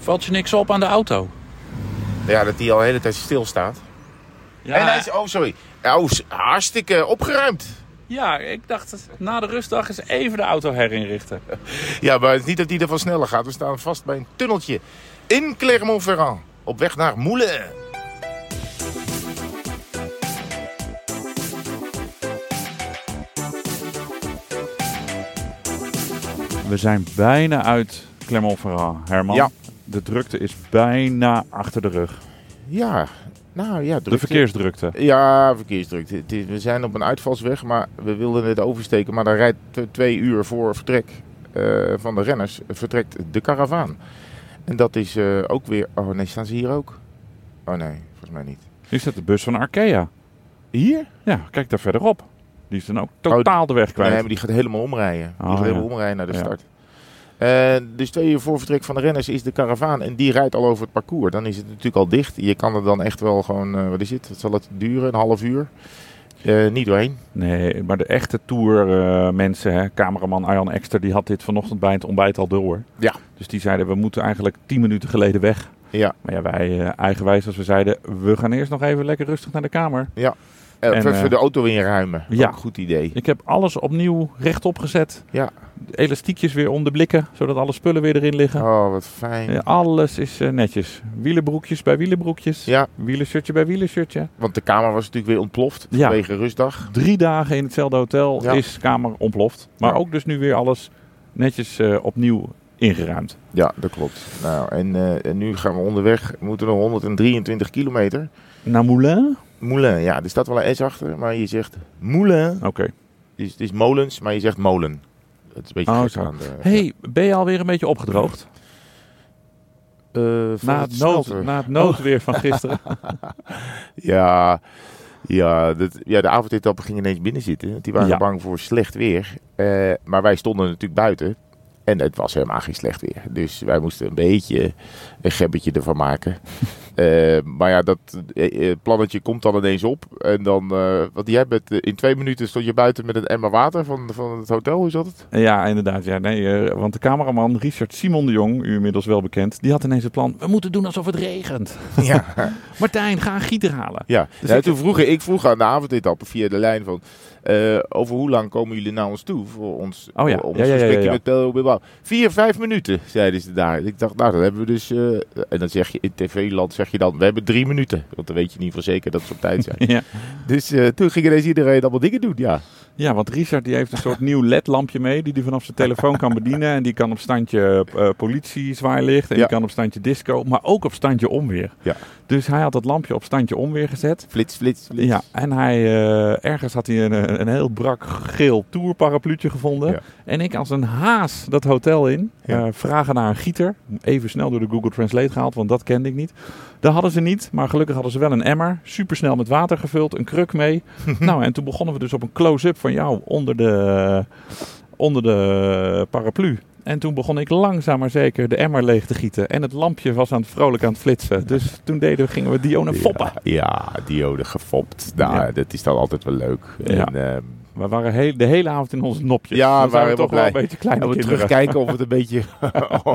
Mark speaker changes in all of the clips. Speaker 1: Valt je niks op aan de auto?
Speaker 2: Ja, dat die al de hele tijd stilstaat.
Speaker 1: Ja,
Speaker 2: En hij is, oh sorry, Ja, oh, s- hartstikke opgeruimd.
Speaker 1: ja, ik dacht na de rustdag eens even de auto herinrichten.
Speaker 2: Ja, maar het is niet dat die ervan sneller gaat. We staan vast bij een tunneltje in Clermont-Ferrand. Op weg naar Moulin.
Speaker 3: We zijn bijna uit Clermont-Ferrand, Herman.
Speaker 2: Ja.
Speaker 3: De drukte is bijna achter de rug.
Speaker 2: Ja, nou ja, drukte.
Speaker 3: De verkeersdrukte.
Speaker 2: Ja, verkeersdrukte. Het is- We zijn op een uitvalsweg, maar we wilden het oversteken. Maar dan rijdt t- twee uur voor vertrek eh, van de renners, vertrekt de karavaan. En dat is eh, ook weer... Oh nee, staan ze hier ook? Oh nee, volgens mij niet.
Speaker 3: Nu staat de bus van Arkea.
Speaker 2: Hier?
Speaker 3: Ja, kijk daar verderop. Die is dan ook totaal de weg
Speaker 2: Oh, Nee,
Speaker 3: kwijt.
Speaker 2: maar die gaat helemaal omrijden. Die
Speaker 3: Oh,
Speaker 2: gaat
Speaker 3: ja.
Speaker 2: helemaal omrijden naar de
Speaker 3: Ja.
Speaker 2: start. Eh, dus twee uur voor vertrek van de renners is de karavaan. En die rijdt al over het parcours. Dan is het natuurlijk al dicht. Je kan er dan echt wel gewoon... eh, wat is het? Wat zal het duren? Een half uur? Eh, niet doorheen.
Speaker 3: Nee, maar de echte Tour eh, mensen, hè, cameraman Arjan Ekster, die had dit vanochtend bij het ontbijt al door.
Speaker 2: Ja.
Speaker 3: Dus die zeiden, we moeten eigenlijk 10 minuten geleden weg.
Speaker 2: Ja.
Speaker 3: Maar ja, wij eh, eigenwijs als we zeiden, we gaan eerst nog even lekker rustig naar de kamer.
Speaker 2: Eh,
Speaker 3: En,
Speaker 2: even
Speaker 3: eh,
Speaker 2: de auto inruimen.
Speaker 3: ja.
Speaker 2: Ook een goed idee.
Speaker 3: Ik heb alles opnieuw rechtop gezet.
Speaker 2: Ja.
Speaker 3: De elastiekjes weer om de blikken, zodat alle spullen weer erin liggen.
Speaker 2: Oh, wat fijn.
Speaker 3: Eh, alles is eh, netjes. Wielenbroekjes bij wielenbroekjes.
Speaker 2: Ja.
Speaker 3: Wielenshirtje bij wielenshirtje.
Speaker 2: Want de kamer was natuurlijk weer ontploft.
Speaker 3: Ja.
Speaker 2: Vanwege rustdag.
Speaker 3: Drie dagen in hetzelfde hotel
Speaker 2: Ja.
Speaker 3: is kamer ontploft. Maar
Speaker 2: Ja.
Speaker 3: ook dus nu weer alles netjes eh, opnieuw ingeruimd.
Speaker 2: Ja, dat klopt. Nou, en, eh, en nu gaan we onderweg. We moeten nog 123 kilometer.
Speaker 3: Naar Moulin?
Speaker 2: Moulin, ja, er staat wel een S achter, maar je zegt Moulin.
Speaker 3: Oké.
Speaker 2: Dus het is molens, maar je zegt molen. Dat is een beetje
Speaker 3: Oh,
Speaker 2: gek
Speaker 3: zo.
Speaker 2: aan de...
Speaker 3: hey, ben je alweer een beetje opgedroogd?
Speaker 2: Eh, van
Speaker 3: Na
Speaker 2: het
Speaker 3: het, nood,
Speaker 2: smelten. Oh.
Speaker 3: na het noodweer van gisteren.
Speaker 2: Ja, ja, dat, ja, de avondetappen gingen ineens binnen zitten. want Die waren
Speaker 3: Ja.
Speaker 2: bang voor slecht weer. Eh, maar wij stonden natuurlijk buiten. En het was helemaal geen slecht weer. Dus wij moesten een beetje een gebbetje ervan maken. Eh, maar ja, dat eh, eh, plannetje komt dan ineens op. En dan, eh, want jij bent, eh, in twee minuten stond je buiten met een emmer water van, van het hotel. Hoe zat het?
Speaker 3: ja, inderdaad. Ja, nee, eh, want de cameraman Richard Simon de Jong, u inmiddels wel bekend, die had ineens het plan. We moeten doen alsof het regent.
Speaker 2: Ja,
Speaker 3: Martijn, ga een gieter halen.
Speaker 2: Ja,
Speaker 3: Dus
Speaker 2: nou,
Speaker 3: ik-
Speaker 2: toen vroeg, ik ik vroeg aan de avondetappe via de lijn van... eh, over hoe lang komen jullie naar ons toe voor ons,
Speaker 3: Oh ja,
Speaker 2: voor ons
Speaker 3: ja, ja, ja,
Speaker 2: gesprekje
Speaker 3: ja.
Speaker 2: met Pedro Bilbao? Vier, vijf minuten, zeiden ze daar. Ik dacht, nou, dan hebben we dus... eh, en dan zeg je, in tv-land zeg je dan, we hebben drie minuten. Want dan weet je niet voor zeker dat ze op tijd zijn.
Speaker 3: Ja.
Speaker 2: dus eh, toen ging ineens iedereen allemaal dingen doen, ja.
Speaker 3: Ja, want Richard die heeft een soort nieuw LED-lampje mee, die hij vanaf zijn telefoon kan bedienen. En die kan op standje eh politie zwaailicht en
Speaker 2: Ja.
Speaker 3: die kan op standje disco, maar ook op standje onweer.
Speaker 2: Ja.
Speaker 3: Dus hij had dat lampje op standje onweer gezet.
Speaker 2: Flits, flits, flits.
Speaker 3: Ja, en hij, eh, ergens had hij een, een heel brak geel tourparapluutje gevonden.
Speaker 2: Ja.
Speaker 3: En ik als een haas dat hotel in, eh
Speaker 2: Ja.
Speaker 3: vragen naar een gieter. Even snel door de Google Translate gehaald, want dat kende ik niet. Dat hadden ze niet, maar gelukkig hadden ze wel een emmer. Supersnel met water gevuld, een kruk mee. nou, en toen begonnen we dus op een close-up van jou onder de, onder de paraplu. En toen begon ik langzaam maar zeker de emmer leeg te gieten. En het lampje was aan het vrolijk aan het flitsen. Dus toen deden, we- gingen we Dione foppen.
Speaker 2: Ja, ja, diode gefopt. Nou,
Speaker 3: Ja.
Speaker 2: dat is dan altijd wel leuk.
Speaker 3: Ja.
Speaker 2: En, ehm,
Speaker 3: We waren heel- de hele avond in onze nopjes. Dus
Speaker 2: Ja,
Speaker 3: Dan
Speaker 2: we waren
Speaker 3: zijn we toch
Speaker 2: helemaal
Speaker 3: wel een
Speaker 2: blij.
Speaker 3: beetje kleine
Speaker 2: En we
Speaker 3: kinderen.
Speaker 2: terugkijken of het een beetje. Oh,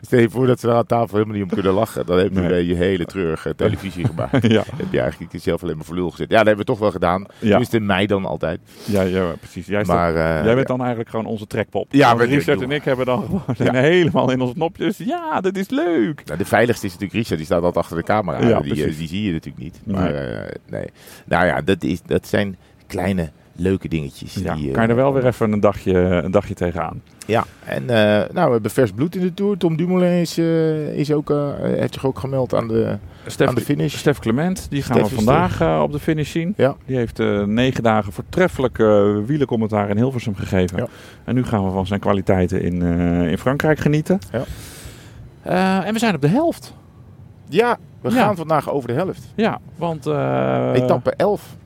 Speaker 2: stel je voor dat ze daar aan tafel helemaal niet om kunnen lachen. Dan heb je
Speaker 3: Nee.
Speaker 2: weer je hele treurige televisie gemaakt.
Speaker 3: ja,
Speaker 2: heb je eigenlijk jezelf alleen maar voor lul gezet. Ja, dat hebben we toch wel gedaan.
Speaker 3: ja,
Speaker 2: Tenminste, in mei dan altijd.
Speaker 3: ja, ja, precies. Jij, staat-
Speaker 2: Dus- Maar, eh,
Speaker 3: jij bent dan eigenlijk gewoon onze trekpop.
Speaker 2: Ja,
Speaker 3: Want
Speaker 2: maar-
Speaker 3: Richard en ik hebben dan gewoon zijn helemaal in onze nopjes. Ja, dat is leuk.
Speaker 2: nou, de veiligste is natuurlijk Richard. Die staat altijd achter de camera.
Speaker 3: Ja,
Speaker 2: die, eh,
Speaker 3: precies.
Speaker 2: die zie je natuurlijk niet.
Speaker 3: Nee.
Speaker 2: Maar eh, nee. Nou ja, dat, is, dat zijn kleine leuke dingetjes.
Speaker 3: Ja,
Speaker 2: die, eh,
Speaker 3: kan je er wel weer even een dagje, een dagje tegenaan.
Speaker 2: Ja, en eh, nou, we hebben vers bloed in de Tour. Tom Dumoulin is, eh, is ook, eh, heeft zich ook gemeld aan de, aan de
Speaker 3: Stef,
Speaker 2: finish.
Speaker 3: Stef Clement, die gaan
Speaker 2: Stef
Speaker 3: we
Speaker 2: is
Speaker 3: vandaag eh, op de finish zien.
Speaker 2: Ja.
Speaker 3: Die heeft eh, negen dagen voortreffelijk eh wielencommentaar in Hilversum gegeven.
Speaker 2: Ja.
Speaker 3: En nu gaan we van zijn kwaliteiten in, eh, in Frankrijk genieten.
Speaker 2: Ja.
Speaker 3: Eh, en we zijn op de helft.
Speaker 2: Ja, we
Speaker 3: Ja.
Speaker 2: gaan vandaag over de helft.
Speaker 3: Ja, want eh,
Speaker 2: Etappe 11.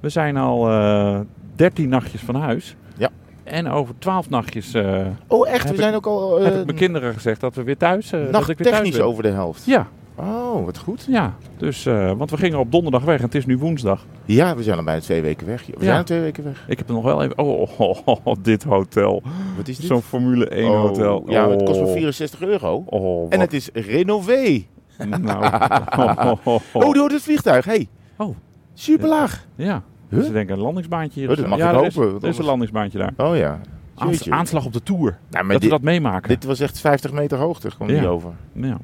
Speaker 3: we zijn al eh 13 nachtjes van huis.
Speaker 2: Ja.
Speaker 3: En over 12 nachtjes eh,
Speaker 2: Oh, echt?
Speaker 3: Heb
Speaker 2: We
Speaker 3: ik-
Speaker 2: zijn ook al eh,
Speaker 3: heb ik mijn kinderen gezegd dat we weer thuis, eh dat ik weer thuis
Speaker 2: nachttechnisch
Speaker 3: ben.
Speaker 2: over de helft.
Speaker 3: Ja,
Speaker 2: Oh, wat goed.
Speaker 3: Ja, dus, eh, want we gingen op donderdag weg en het is nu woensdag.
Speaker 2: Ja, we zijn al bijna twee weken weg. joh. We
Speaker 3: Ja.
Speaker 2: zijn al twee weken weg.
Speaker 3: Ik heb er nog wel even... Oh, oh, oh, oh, dit hotel.
Speaker 2: Wat is dit?
Speaker 3: Zo'n Formule 1
Speaker 2: Oh,
Speaker 3: hotel.
Speaker 2: Ja, het kost maar
Speaker 3: Oh,
Speaker 2: 64 euro.
Speaker 3: Oh,
Speaker 2: En
Speaker 3: wat-
Speaker 2: het is Renové.
Speaker 3: Nou, oh, oh, oh, oh.
Speaker 2: Oh, door het vliegtuig. Hey.
Speaker 3: Oh.
Speaker 2: Superlaag.
Speaker 3: Ja,
Speaker 2: Huh?
Speaker 3: dus ik denk een landingsbaantje hier.
Speaker 2: Oh,
Speaker 3: of
Speaker 2: dat
Speaker 3: zo.
Speaker 2: mag
Speaker 3: ja,
Speaker 2: ik
Speaker 3: er is-
Speaker 2: hopen,
Speaker 3: Er is,
Speaker 2: want
Speaker 3: een
Speaker 2: anders-
Speaker 3: landingsbaantje daar.
Speaker 2: Oh ja.
Speaker 3: Aans-
Speaker 2: Jeetje.
Speaker 3: aanslag op de Tour.
Speaker 2: Nou, maar
Speaker 3: dat we
Speaker 2: dit,
Speaker 3: dat meemaken.
Speaker 2: dit was echt 50 meter hoogte. Kwam
Speaker 3: Ja.
Speaker 2: niet over.
Speaker 3: ja.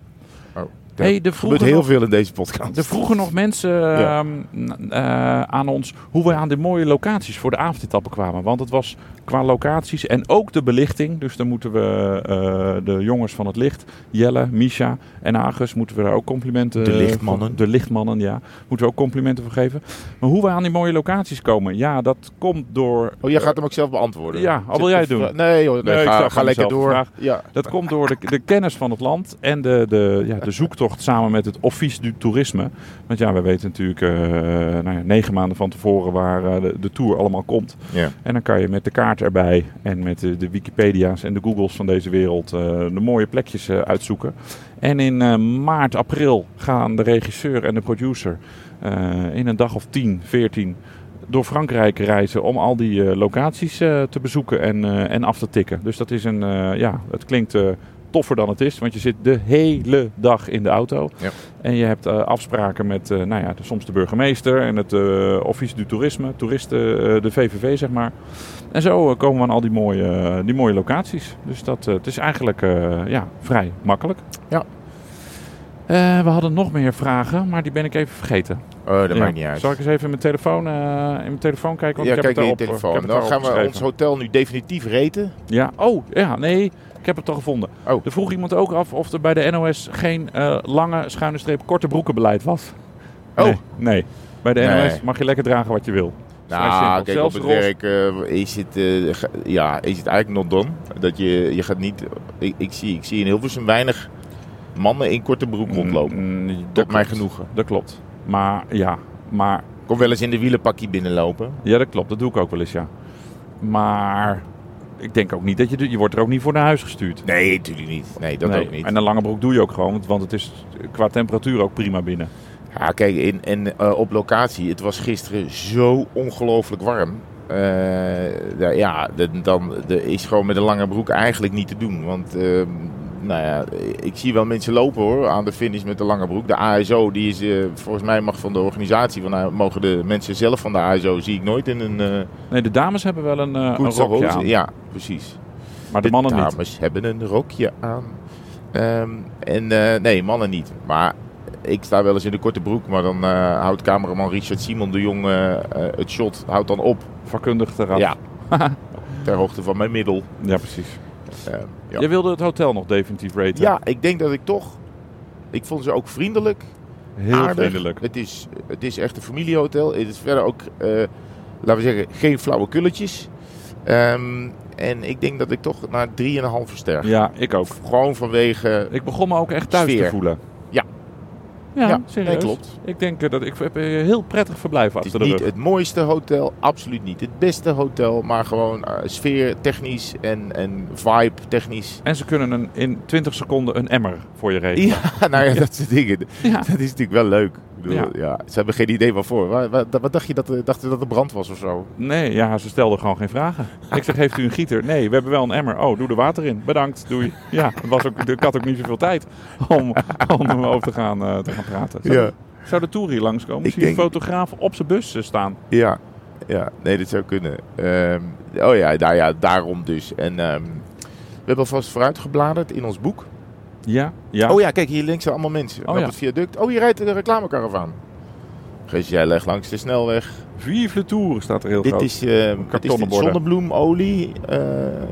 Speaker 2: Oh.
Speaker 3: hey, er
Speaker 2: Er gebeurt
Speaker 3: vroegen,
Speaker 2: heel
Speaker 3: nog,
Speaker 2: veel in deze podcast.
Speaker 3: er vroegen nog mensen
Speaker 2: Ja.
Speaker 3: ehm, n- eh, aan ons hoe wij aan de mooie locaties voor de avondetappen kwamen. Want het was qua locaties en ook de belichting. Dus dan moeten we eh, de jongens van het licht, Jelle, Misha en Agus, moeten we daar ook complimenten...
Speaker 2: De lichtmannen.
Speaker 3: voor- De lichtmannen, ja. Moeten we ook complimenten voor geven. Maar hoe wij aan die mooie locaties komen, ja, dat komt door
Speaker 2: Oh, jij gaat hem ook zelf beantwoorden.
Speaker 3: Ja, al wil
Speaker 2: Zit
Speaker 3: jij
Speaker 2: de
Speaker 3: doen.
Speaker 2: vra- Nee, joh, nee,
Speaker 3: Nee, ik
Speaker 2: ga,
Speaker 3: stel
Speaker 2: ga
Speaker 3: gewoon
Speaker 2: lekker
Speaker 3: dezelfde
Speaker 2: door.
Speaker 3: vraag.
Speaker 2: Ja.
Speaker 3: Dat komt door de, de kennis van het land en de, de, ja, de zoektocht samen met het Office du Toerisme. Want ja, we weten natuurlijk eh, nou ja, negen maanden van tevoren waar eh, de, de tour allemaal komt.
Speaker 2: Ja.
Speaker 3: En dan kan je met de kaart erbij en met de, de Wikipedia's en de Googles van deze wereld eh, de mooie plekjes eh, uitzoeken. En in eh, maart, april gaan de regisseur en de producer eh, in een dag of 10, 14 door Frankrijk reizen om al die eh, locaties eh, te bezoeken en, eh, en af te tikken. Dus dat is een, eh, ja, het klinkt eh, toffer dan het is, want je zit de hele dag in de auto.
Speaker 2: Ja.
Speaker 3: En je hebt eh, afspraken met, eh, nou ja, de- soms de burgemeester en het eh, Office du Toerisme, toeristen, eh, de VVV zeg maar. En zo eh, komen we aan al die mooie, eh, die mooie locaties. Dus dat, eh, het is eigenlijk eh, ja, vrij makkelijk.
Speaker 2: Ja.
Speaker 3: Eh, we hadden nog meer vragen, maar die ben ik even vergeten.
Speaker 2: Oh, dat
Speaker 3: Ja.
Speaker 2: maakt niet uit.
Speaker 3: Zal ik eens even in mijn telefoon, eh, in mijn telefoon kijken? Want
Speaker 2: ja,
Speaker 3: ik heb het
Speaker 2: kijk naar je
Speaker 3: erop, eh, ik
Speaker 2: telefoon.
Speaker 3: heb
Speaker 2: Dan
Speaker 3: het
Speaker 2: gaan
Speaker 3: erop
Speaker 2: we ons
Speaker 3: geschreven.
Speaker 2: hotel nu definitief reten.
Speaker 3: Ja, oh, ja, nee, ik heb het al gevonden.
Speaker 2: Oh.
Speaker 3: Er vroeg iemand ook af of er bij de NOS geen eh, lange, schuine streep, korte broekenbeleid was.
Speaker 2: Oh.
Speaker 3: Nee, nee. bij de
Speaker 2: Nee.
Speaker 3: NOS mag je lekker dragen wat je wil. Vrij simpel.
Speaker 2: Nou, kijk, op
Speaker 3: Zelfs
Speaker 2: het
Speaker 3: roze-
Speaker 2: werk eh, is, het, eh, ge- ja, is het eigenlijk not done. Dat je, je gaat niet... Ik, ik, zie, ik zie in Hilversum weinig mannen in korte broek rondlopen.
Speaker 3: Mm, mm, dat
Speaker 2: Tot mijn
Speaker 3: klopt.
Speaker 2: genoegen.
Speaker 3: Dat klopt. Maar ja, maar
Speaker 2: Ik kom wel eens in de wielenpakje binnenlopen.
Speaker 3: Ja, dat klopt. Dat doe ik ook wel eens, ja. Maar ik denk ook niet dat je... Je wordt er ook niet voor naar huis gestuurd.
Speaker 2: Nee, natuurlijk niet. Nee, dat
Speaker 3: Nee.
Speaker 2: ook niet.
Speaker 3: En een lange broek doe je ook gewoon, want- want het is qua temperatuur ook prima binnen.
Speaker 2: Ja, kijk, in, en eh, op locatie, het was gisteren zo ongelooflijk warm. Eh, da- ja, de- dan de, is gewoon met een lange broek eigenlijk niet te doen. Want, eh, nou ja, ik zie wel mensen lopen hoor, aan de finish met een lange broek. De ASO, die is eh, volgens mij mag van de organisatie, want nou, mogen de mensen zelf van de ASO, zie ik nooit in een eh
Speaker 3: Nee, de dames hebben wel een, eh, een
Speaker 2: koetsel
Speaker 3: rokje
Speaker 2: roze.
Speaker 3: aan,
Speaker 2: Ja, precies.
Speaker 3: maar de mannen niet.
Speaker 2: dames hebben een rokje aan. Ehm, en eh, nee, mannen niet. Maar ik sta wel eens in de korte broek, maar dan eh, houdt cameraman Richard Simon de Jong eh, eh, het shot houdt dan op.
Speaker 3: Vakkundig eraf.
Speaker 2: Ja. Ter hoogte van mijn middel.
Speaker 3: Ja, precies.
Speaker 2: Ehm, ja.
Speaker 3: Jij wilde het hotel nog definitief raten.
Speaker 2: ja, ik denk dat ik toch. Ik vond ze ook vriendelijk.
Speaker 3: Heel
Speaker 2: aardig.
Speaker 3: vriendelijk.
Speaker 2: Het is, het is echt een familiehotel. Het is verder ook, eh, laten we zeggen, geen flauwe kulletjes. Ehm, en ik denk dat ik toch naar 3,5 ster.
Speaker 3: Ja, ik ook.
Speaker 2: Gewoon vanwege
Speaker 3: Ik begon me ook echt thuis
Speaker 2: Sfeer.
Speaker 3: te voelen.
Speaker 2: Ja.
Speaker 3: Ja,
Speaker 2: Ja,
Speaker 3: serieus.
Speaker 2: nee, klopt.
Speaker 3: Ik denk eh, dat ik heb eh, heel prettig verblijf
Speaker 2: Het
Speaker 3: achter de
Speaker 2: is niet
Speaker 3: rug.
Speaker 2: het mooiste hotel, absoluut niet het beste hotel, maar gewoon eh, sfeer technisch en, en vibe technisch.
Speaker 3: En ze kunnen een, in 20 seconden een emmer voor je regelen.
Speaker 2: Ja, nou ja, dat soort dingen.
Speaker 3: Ja.
Speaker 2: Dat is natuurlijk wel leuk. Ik bedoel,
Speaker 3: Ja.
Speaker 2: ja. ze hebben geen idee waarvoor. Wat, wat, wat dacht je dat, er- dachten ze dat er brand was of zo?
Speaker 3: Nee, ja, ze stelden gewoon geen vragen. Ik zeg, heeft u een gieter? Nee, we hebben wel een emmer. Oh, doe er water in. Bedankt, doei. Ja, het was ook, ik had ook niet zoveel tijd om, om hem over te gaan, eh, te gaan praten. Zou,
Speaker 2: Ja.
Speaker 3: zou de tour hier langskomen?
Speaker 2: Ik
Speaker 3: Zie je een
Speaker 2: denk-
Speaker 3: fotograaf op zijn bus eh, staan?
Speaker 2: Ja, ja nee, dat zou kunnen. Ehm, oh ja, nou ja, daarom dus. En ehm, we hebben alvast vooruit gebladerd in ons boek.
Speaker 3: Ja, ja.
Speaker 2: Oh ja, kijk, hier links zijn allemaal mensen
Speaker 3: Oh
Speaker 2: op
Speaker 3: ja.
Speaker 2: het viaduct. Oh, hier rijdt de reclamekaravaan. Gezellig langs de snelweg.
Speaker 3: Vive le tour staat er heel
Speaker 2: Dit
Speaker 3: groot.
Speaker 2: is, eh wat is
Speaker 3: kartonnen
Speaker 2: dit?
Speaker 3: borden.
Speaker 2: zonnebloemolie. eh,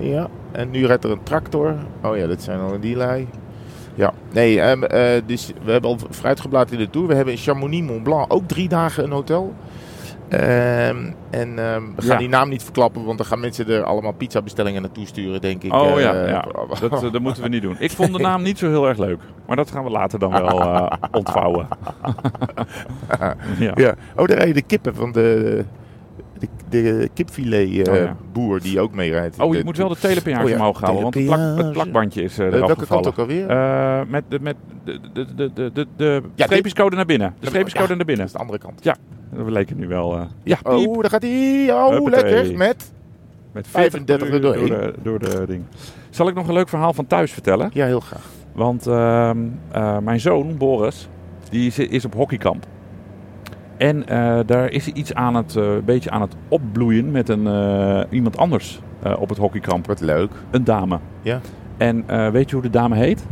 Speaker 2: ja. En nu rijdt er een tractor. Oh ja, dat zijn al die lui. Ja, nee, ehm, eh, dus we hebben al vooruitgeblaad in de tour. We hebben in Chamonix Mont Blanc ook drie dagen een hotel. Ehm, en ehm, we gaan
Speaker 3: Ja.
Speaker 2: die naam niet verklappen, want dan gaan mensen er allemaal pizzabestellingen naartoe sturen, denk ik.
Speaker 3: Oh
Speaker 2: Eh,
Speaker 3: ja, ja. Dat, eh, dat moeten we niet doen. Ik vond de naam niet zo heel erg leuk. Maar dat gaan we later dan wel eh, ontvouwen. ja.
Speaker 2: ja. Oh, daar rijden de kippen van de, de de, de kipfilet eh,
Speaker 3: Oh, ja.
Speaker 2: boer die ook meerijdt.
Speaker 3: Oh, je
Speaker 2: De-
Speaker 3: moet wel de telepeage
Speaker 2: Oh ja,
Speaker 3: omhoog houden, want het, plak- het
Speaker 2: telepeage.
Speaker 3: plakbandje is eh
Speaker 2: Eh,
Speaker 3: eraf
Speaker 2: welke
Speaker 3: gevallen.
Speaker 2: kant ook alweer?
Speaker 3: Eh, met de, met de, de, de, de, de, de
Speaker 2: dit-
Speaker 3: streepjescode naar binnen. De
Speaker 2: Ja,
Speaker 3: streepjescode naar
Speaker 2: dat
Speaker 3: binnen.
Speaker 2: is de andere kant.
Speaker 3: Dat leek het nu wel. eh, ja, piep.
Speaker 2: Oh, daar gaat hij. Oh,
Speaker 3: Huppatee.
Speaker 2: lekker. Met.
Speaker 3: Met
Speaker 2: 35
Speaker 3: per uur
Speaker 2: er
Speaker 3: Door de, door de ding. Zal ik nog een leuk verhaal van thuis vertellen?
Speaker 2: Ja, heel graag.
Speaker 3: Want ehm, eh, mijn zoon, Boris, die is, is op hockeykamp. En eh, daar is hij iets aan het, eh, beetje aan het opbloeien met een, eh, iemand anders eh, op het hockeykamp.
Speaker 2: Wat leuk.
Speaker 3: Een dame.
Speaker 2: Ja.
Speaker 3: En eh, weet je hoe de dame heet?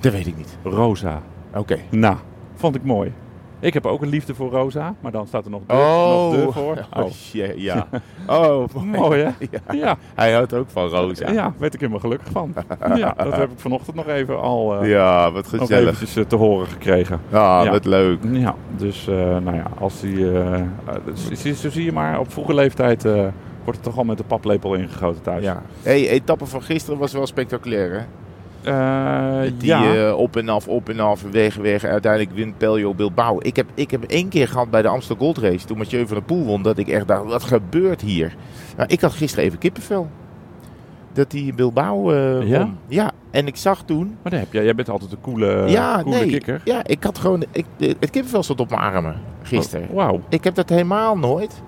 Speaker 2: Dat weet ik niet.
Speaker 3: Rosa.
Speaker 2: Oké.
Speaker 3: Nou, vond ik mooi. Ik heb ook een liefde voor Rosa, maar dan staat er nog de, nog de voor.
Speaker 2: Oh, shit, ja. Oh, mooi.
Speaker 3: Mooi hè? Ja.
Speaker 2: Hij houdt ook van Rosa.
Speaker 3: Ja. werd ik helemaal gelukkig van. ja, dat heb ik vanochtend nog even al eh,
Speaker 2: Ja, wat
Speaker 3: nog
Speaker 2: gezellig.
Speaker 3: eventjes eh, te horen gekregen.
Speaker 2: Ah,
Speaker 3: Ja.
Speaker 2: wat leuk.
Speaker 3: Ja, dus eh, nou ja, als die, eh, eh, dat is- zie- zo zie je maar, op vroege leeftijd eh, wordt het toch al met de paplepel ingegoten thuis.
Speaker 2: Ja. Hey, etappe van gisteren was wel spectaculair, hè?
Speaker 3: Eh,
Speaker 2: Met die
Speaker 3: ja.
Speaker 2: eh, op en af, op en af, weg, weg. Uiteindelijk wint Peljo Bilbao. Ik heb, ik heb één keer gehad bij de Amstel Gold Race, toen Mathieu van der Poel won, dat ik echt dacht, wat gebeurt hier? Nou, ik had gisteren even kippenvel. Dat die Bilbao eh
Speaker 3: Ja?
Speaker 2: won. Ja, en ik zag toen...
Speaker 3: Maar daar heb jij, jij bent altijd een coole,
Speaker 2: ja,
Speaker 3: coole
Speaker 2: nee.
Speaker 3: kikker.
Speaker 2: Ja, ik had gewoon... Ik, het kippenvel stond op mijn armen gisteren.
Speaker 3: Wauw.
Speaker 2: Ik heb dat helemaal nooit.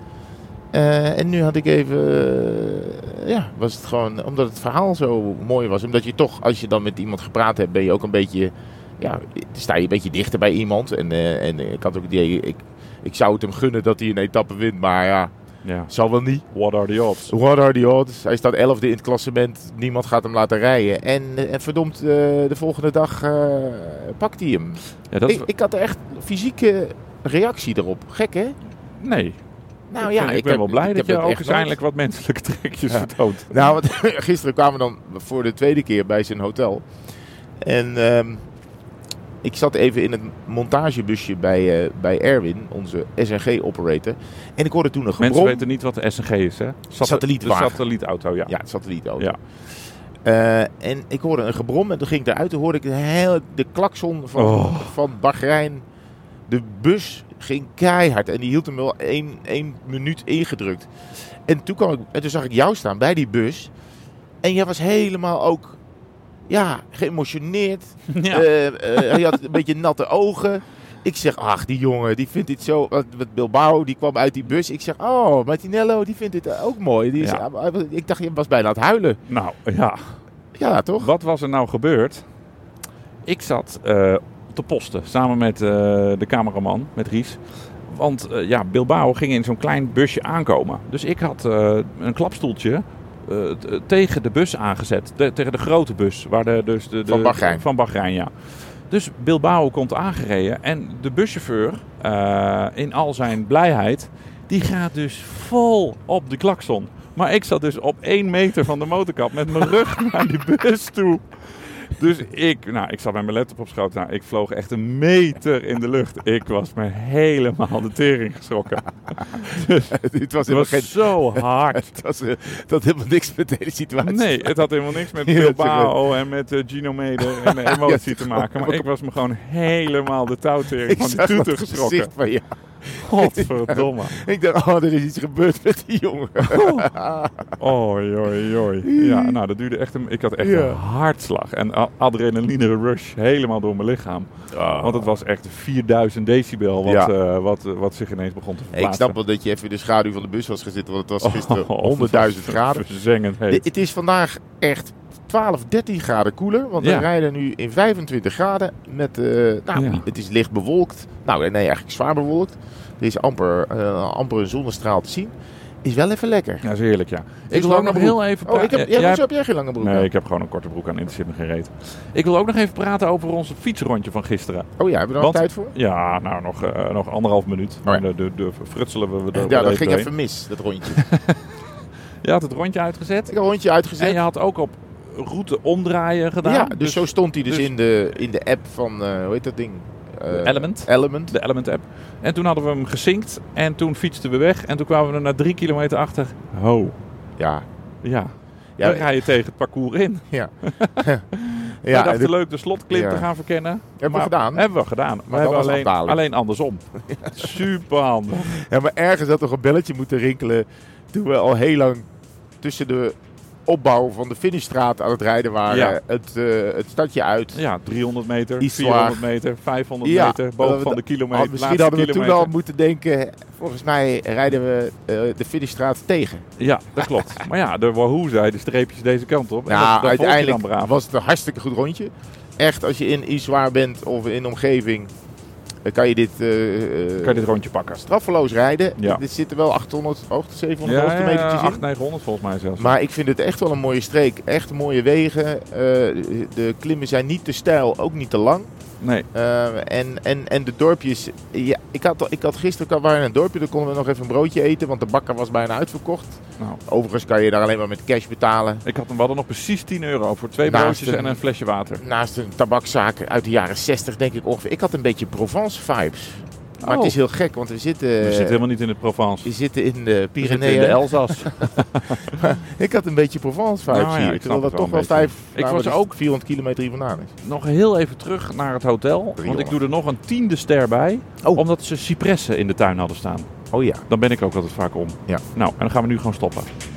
Speaker 2: Eh, en nu had ik even. eh, ja, was het gewoon. Omdat het verhaal zo mooi was. Omdat je toch, als je dan met iemand gepraat hebt, ben je ook een beetje. Ja, sta je een beetje dichter bij iemand. En, eh, en ik had ook die. Ik, ik zou het hem gunnen dat hij een etappe wint. Maar ja,
Speaker 3: Ja.
Speaker 2: zal wel niet.
Speaker 3: What are the odds?
Speaker 2: What are the odds? dus Hij staat 11e in het klassement. Niemand gaat hem laten rijden. En, eh, en verdomd, eh, de volgende dag eh, pakt hij hem.
Speaker 3: Ja, dat is-
Speaker 2: Ik, ik had er echt fysieke reactie erop. Gek hè?
Speaker 3: nee.
Speaker 2: Nou
Speaker 3: ik, ben
Speaker 2: heb-
Speaker 3: wel blij
Speaker 2: ik
Speaker 3: dat
Speaker 2: heb
Speaker 3: je
Speaker 2: het
Speaker 3: ook
Speaker 2: echt
Speaker 3: eens eindelijk wat menselijke trekjes
Speaker 2: Ja.
Speaker 3: vertoont.
Speaker 2: nooit. Nou, want gisteren kwamen we dan voor de tweede keer bij zijn hotel. En ehm, ik zat even in het montagebusje bij, eh, bij Erwin, onze SNG-operator. En ik hoorde toen een
Speaker 3: Mensen
Speaker 2: gebrom.
Speaker 3: weten niet wat de SNG is, hè? Sat-
Speaker 2: Satellietwagen.
Speaker 3: De satellietauto, ja.
Speaker 2: Ja, het satellietauto.
Speaker 3: Ja.
Speaker 2: Eh, en ik hoorde een gebrom en toen ging ik eruit. Toen hoorde ik de, heel, de klakson van,
Speaker 3: Oh.
Speaker 2: van Bahrein. De bus ging keihard en die hield hem wel één, één minuut ingedrukt. En toen, kwam ik, en toen zag ik jou staan bij die bus. En jij was helemaal ook ja, geëmotioneerd.
Speaker 3: Ja.
Speaker 2: Eh, eh, hij had een beetje natte ogen. Ik zeg, ach, die jongen, die vindt dit zo... want Met Bilbao, die kwam uit die bus. Ik zeg, oh, Martinello, die vindt dit eh, ook mooi. Die is,
Speaker 3: Ja.
Speaker 2: hij was- Ik dacht, je was bijna aan het huilen.
Speaker 3: Nou, ja.
Speaker 2: Ja, toch?
Speaker 3: Wat was er nou gebeurd? Ik zat eh, te posten samen met eh, de cameraman, met Ries. Want eh, ja, Bilbao ging in zo'n klein busje aankomen. Dus ik had eh, een klapstoeltje eh, t- tegen de bus aangezet. De- tegen de grote bus. Waar de, dus de, de-
Speaker 2: Van Bahrein.
Speaker 3: Van Bahrein, ja. Dus Bilbao komt aangereden. En de buschauffeur, eh, in al zijn blijheid, die gaat dus vol op de klakson. Maar ik zat dus op één meter van de motorkap met mijn rug naar die bus toe. Dus ik, nou, ik zat met mijn laptop op schoot. Nou, ik vloog echt een meter in de lucht. Ik was me helemaal de tering geschrokken.
Speaker 2: dit was
Speaker 3: Het
Speaker 2: helemaal
Speaker 3: was
Speaker 2: geen...
Speaker 3: zo hard.
Speaker 2: Het was, eh, dat had helemaal niks met deze situatie.
Speaker 3: Nee, het had helemaal niks met
Speaker 2: Ja, dat is
Speaker 3: Bilbao en met eh, Gino Meder en de emotie te maken. Maar ik was me gewoon helemaal de touwtering van de
Speaker 2: zag
Speaker 3: toeter
Speaker 2: dat
Speaker 3: geschrokken.
Speaker 2: gezicht van je.
Speaker 3: Godverdomme.
Speaker 2: Ik dacht, oh, er is iets gebeurd met die jongen.
Speaker 3: Oei, oei, oei. Ja, nou, dat duurde echt een... Ik had echt
Speaker 2: Ja.
Speaker 3: een hartslag en a- adrenaline rush helemaal door mijn lichaam. Want het was echt 4000 decibel wat,
Speaker 2: Ah. Ja.
Speaker 3: eh, wat, eh, wat zich ineens begon te
Speaker 2: Ik
Speaker 3: verplaatsen.
Speaker 2: snap wel dat je even in de schaduw van de bus was gezeten, want het was gisteren
Speaker 3: Oh, oh,
Speaker 2: 100.000 graden.
Speaker 3: Verzengend
Speaker 2: De-
Speaker 3: heet.
Speaker 2: het is vandaag echt 12, 13 graden koeler. Want
Speaker 3: Ja.
Speaker 2: we rijden nu in 25 graden. Met, eh, nou,
Speaker 3: Ja.
Speaker 2: Het is licht bewolkt. Nou, nee, eigenlijk zwaar bewolkt. Er is amper, eh, amper een zonnestraal te zien. Is wel even lekker.
Speaker 3: Ja, dat is heerlijk, ja. Ik wil
Speaker 2: lange
Speaker 3: ook nog
Speaker 2: broek.
Speaker 3: heel even...
Speaker 2: Oh, ik heb,
Speaker 3: pra-
Speaker 2: ja,
Speaker 3: jij
Speaker 2: hoezo heb jij geen lange broek aan?
Speaker 3: Nee, ik heb gewoon een korte broek aan. Het zit me geen reet. Ik wil ook nog even praten over ons fietsrondje van gisteren.
Speaker 2: Oh ja, hebben we daar
Speaker 3: Want-
Speaker 2: nog tijd voor?
Speaker 3: Ja, nou, nog, eh, nog anderhalf minuut.
Speaker 2: Oh ja.
Speaker 3: De, de, de frutselen we er
Speaker 2: Ja,
Speaker 3: wel
Speaker 2: dat ging
Speaker 3: doorheen.
Speaker 2: even mis, dat rondje.
Speaker 3: Je had het rondje uitgezet.
Speaker 2: ik heb een rondje
Speaker 3: En
Speaker 2: uitgezet.
Speaker 3: je had ook op route omdraaien gedaan.
Speaker 2: ja, dus, zo stond hij dus,
Speaker 3: dus-
Speaker 2: in, de, in de app van, eh, hoe heet dat ding? Eh,
Speaker 3: Element.
Speaker 2: Element.
Speaker 3: De Element app. En toen hadden we hem gesinkt. En toen fietsten we weg. En toen kwamen we er na drie kilometer achter. Ho.
Speaker 2: Ja.
Speaker 3: Ja.
Speaker 2: Ja,
Speaker 3: Dan ga je tegen het parcours in. Wij
Speaker 2: en
Speaker 3: dachten
Speaker 2: dit
Speaker 3: leuk de slotklim
Speaker 2: Ja.
Speaker 3: te gaan verkennen.
Speaker 2: hebben we
Speaker 3: Maar
Speaker 2: gedaan.
Speaker 3: Hebben we gedaan. We
Speaker 2: dat
Speaker 3: hebben
Speaker 2: was
Speaker 3: alleen,
Speaker 2: afdaling.
Speaker 3: alleen andersom. Super handig.
Speaker 2: Ja, maar ergens had toch een belletje moeten rinkelen toen we al heel lang tussen de opbouw van de finishstraat aan het rijden waren.
Speaker 3: Ja.
Speaker 2: Het, eh, het stadje uit.
Speaker 3: Ja, 300 meter,
Speaker 2: Iets
Speaker 3: 400 meter, 500
Speaker 2: Ja,
Speaker 3: meter,
Speaker 2: dat
Speaker 3: boven
Speaker 2: we
Speaker 3: van
Speaker 2: da-
Speaker 3: de
Speaker 2: Had-
Speaker 3: kilometer.
Speaker 2: misschien
Speaker 3: laatste
Speaker 2: hadden we toen
Speaker 3: kilometer.
Speaker 2: al moeten denken, volgens mij rijden we eh, de finishstraat tegen.
Speaker 3: Ja, dat klopt. maar ja, de Wahoo zei de streepjes deze kant op. En dat- dat
Speaker 2: Ja,
Speaker 3: volg je
Speaker 2: uiteindelijk
Speaker 3: dan braaf.
Speaker 2: was het een hartstikke goed rondje. Echt, als je in Iswaar bent of in de omgeving, eh, kan je dit, eh, eh,
Speaker 3: Kan je dit rondje pakken?
Speaker 2: straffeloos rijden.
Speaker 3: Ja.
Speaker 2: Dit zitten wel 800 hoogte, 700 hoogtemetertjes in.
Speaker 3: 800, 900 volgens mij zelfs.
Speaker 2: Maar ik vind het echt wel een mooie streek. Echt mooie wegen. Eh, de klimmen zijn niet te steil, ook niet te lang.
Speaker 3: nee,
Speaker 2: Eh, en, en, en de dorpjes. Ja, ik, had, al- ik had gisteren we waren in een dorpje, daar konden we nog even een broodje eten, want de bakker was bijna uitverkocht.
Speaker 3: nou,
Speaker 2: Overigens kan je daar alleen maar met cash betalen.
Speaker 3: ik had hem, we hadden nog precies 10 euro voor twee
Speaker 2: Naast Eh,
Speaker 3: broodjes
Speaker 2: een-
Speaker 3: en een flesje water.
Speaker 2: Naast een tabakzaak uit de jaren 60 denk ik ongeveer. Ik had een beetje Provence vibes. Maar
Speaker 3: Oh.
Speaker 2: het is heel gek, want we zitten,
Speaker 3: We zitten helemaal niet in de Provence.
Speaker 2: we zitten in de
Speaker 3: We zitten in de
Speaker 2: Pyreneeën.
Speaker 3: Elzas.
Speaker 2: Ik had een beetje Provence
Speaker 3: Nou
Speaker 2: vibes
Speaker 3: ja,
Speaker 2: hier.
Speaker 3: ik
Speaker 2: Terwijl
Speaker 3: snap
Speaker 2: dat
Speaker 3: het wel
Speaker 2: toch wel
Speaker 3: een beetje.
Speaker 2: vijf,
Speaker 3: Ik
Speaker 2: nou,
Speaker 3: was
Speaker 2: wat is het,
Speaker 3: ook-
Speaker 2: 400 kilometer hier vandaan is.
Speaker 3: Nog heel even terug naar het hotel. Want ik doe er nog een tiende ster bij.
Speaker 2: Oh.
Speaker 3: Omdat ze cipressen in de tuin hadden staan.
Speaker 2: Oh ja.
Speaker 3: Dan ben ik ook altijd vaak om.
Speaker 2: Ja.
Speaker 3: Nou, en dan gaan we nu gewoon stoppen.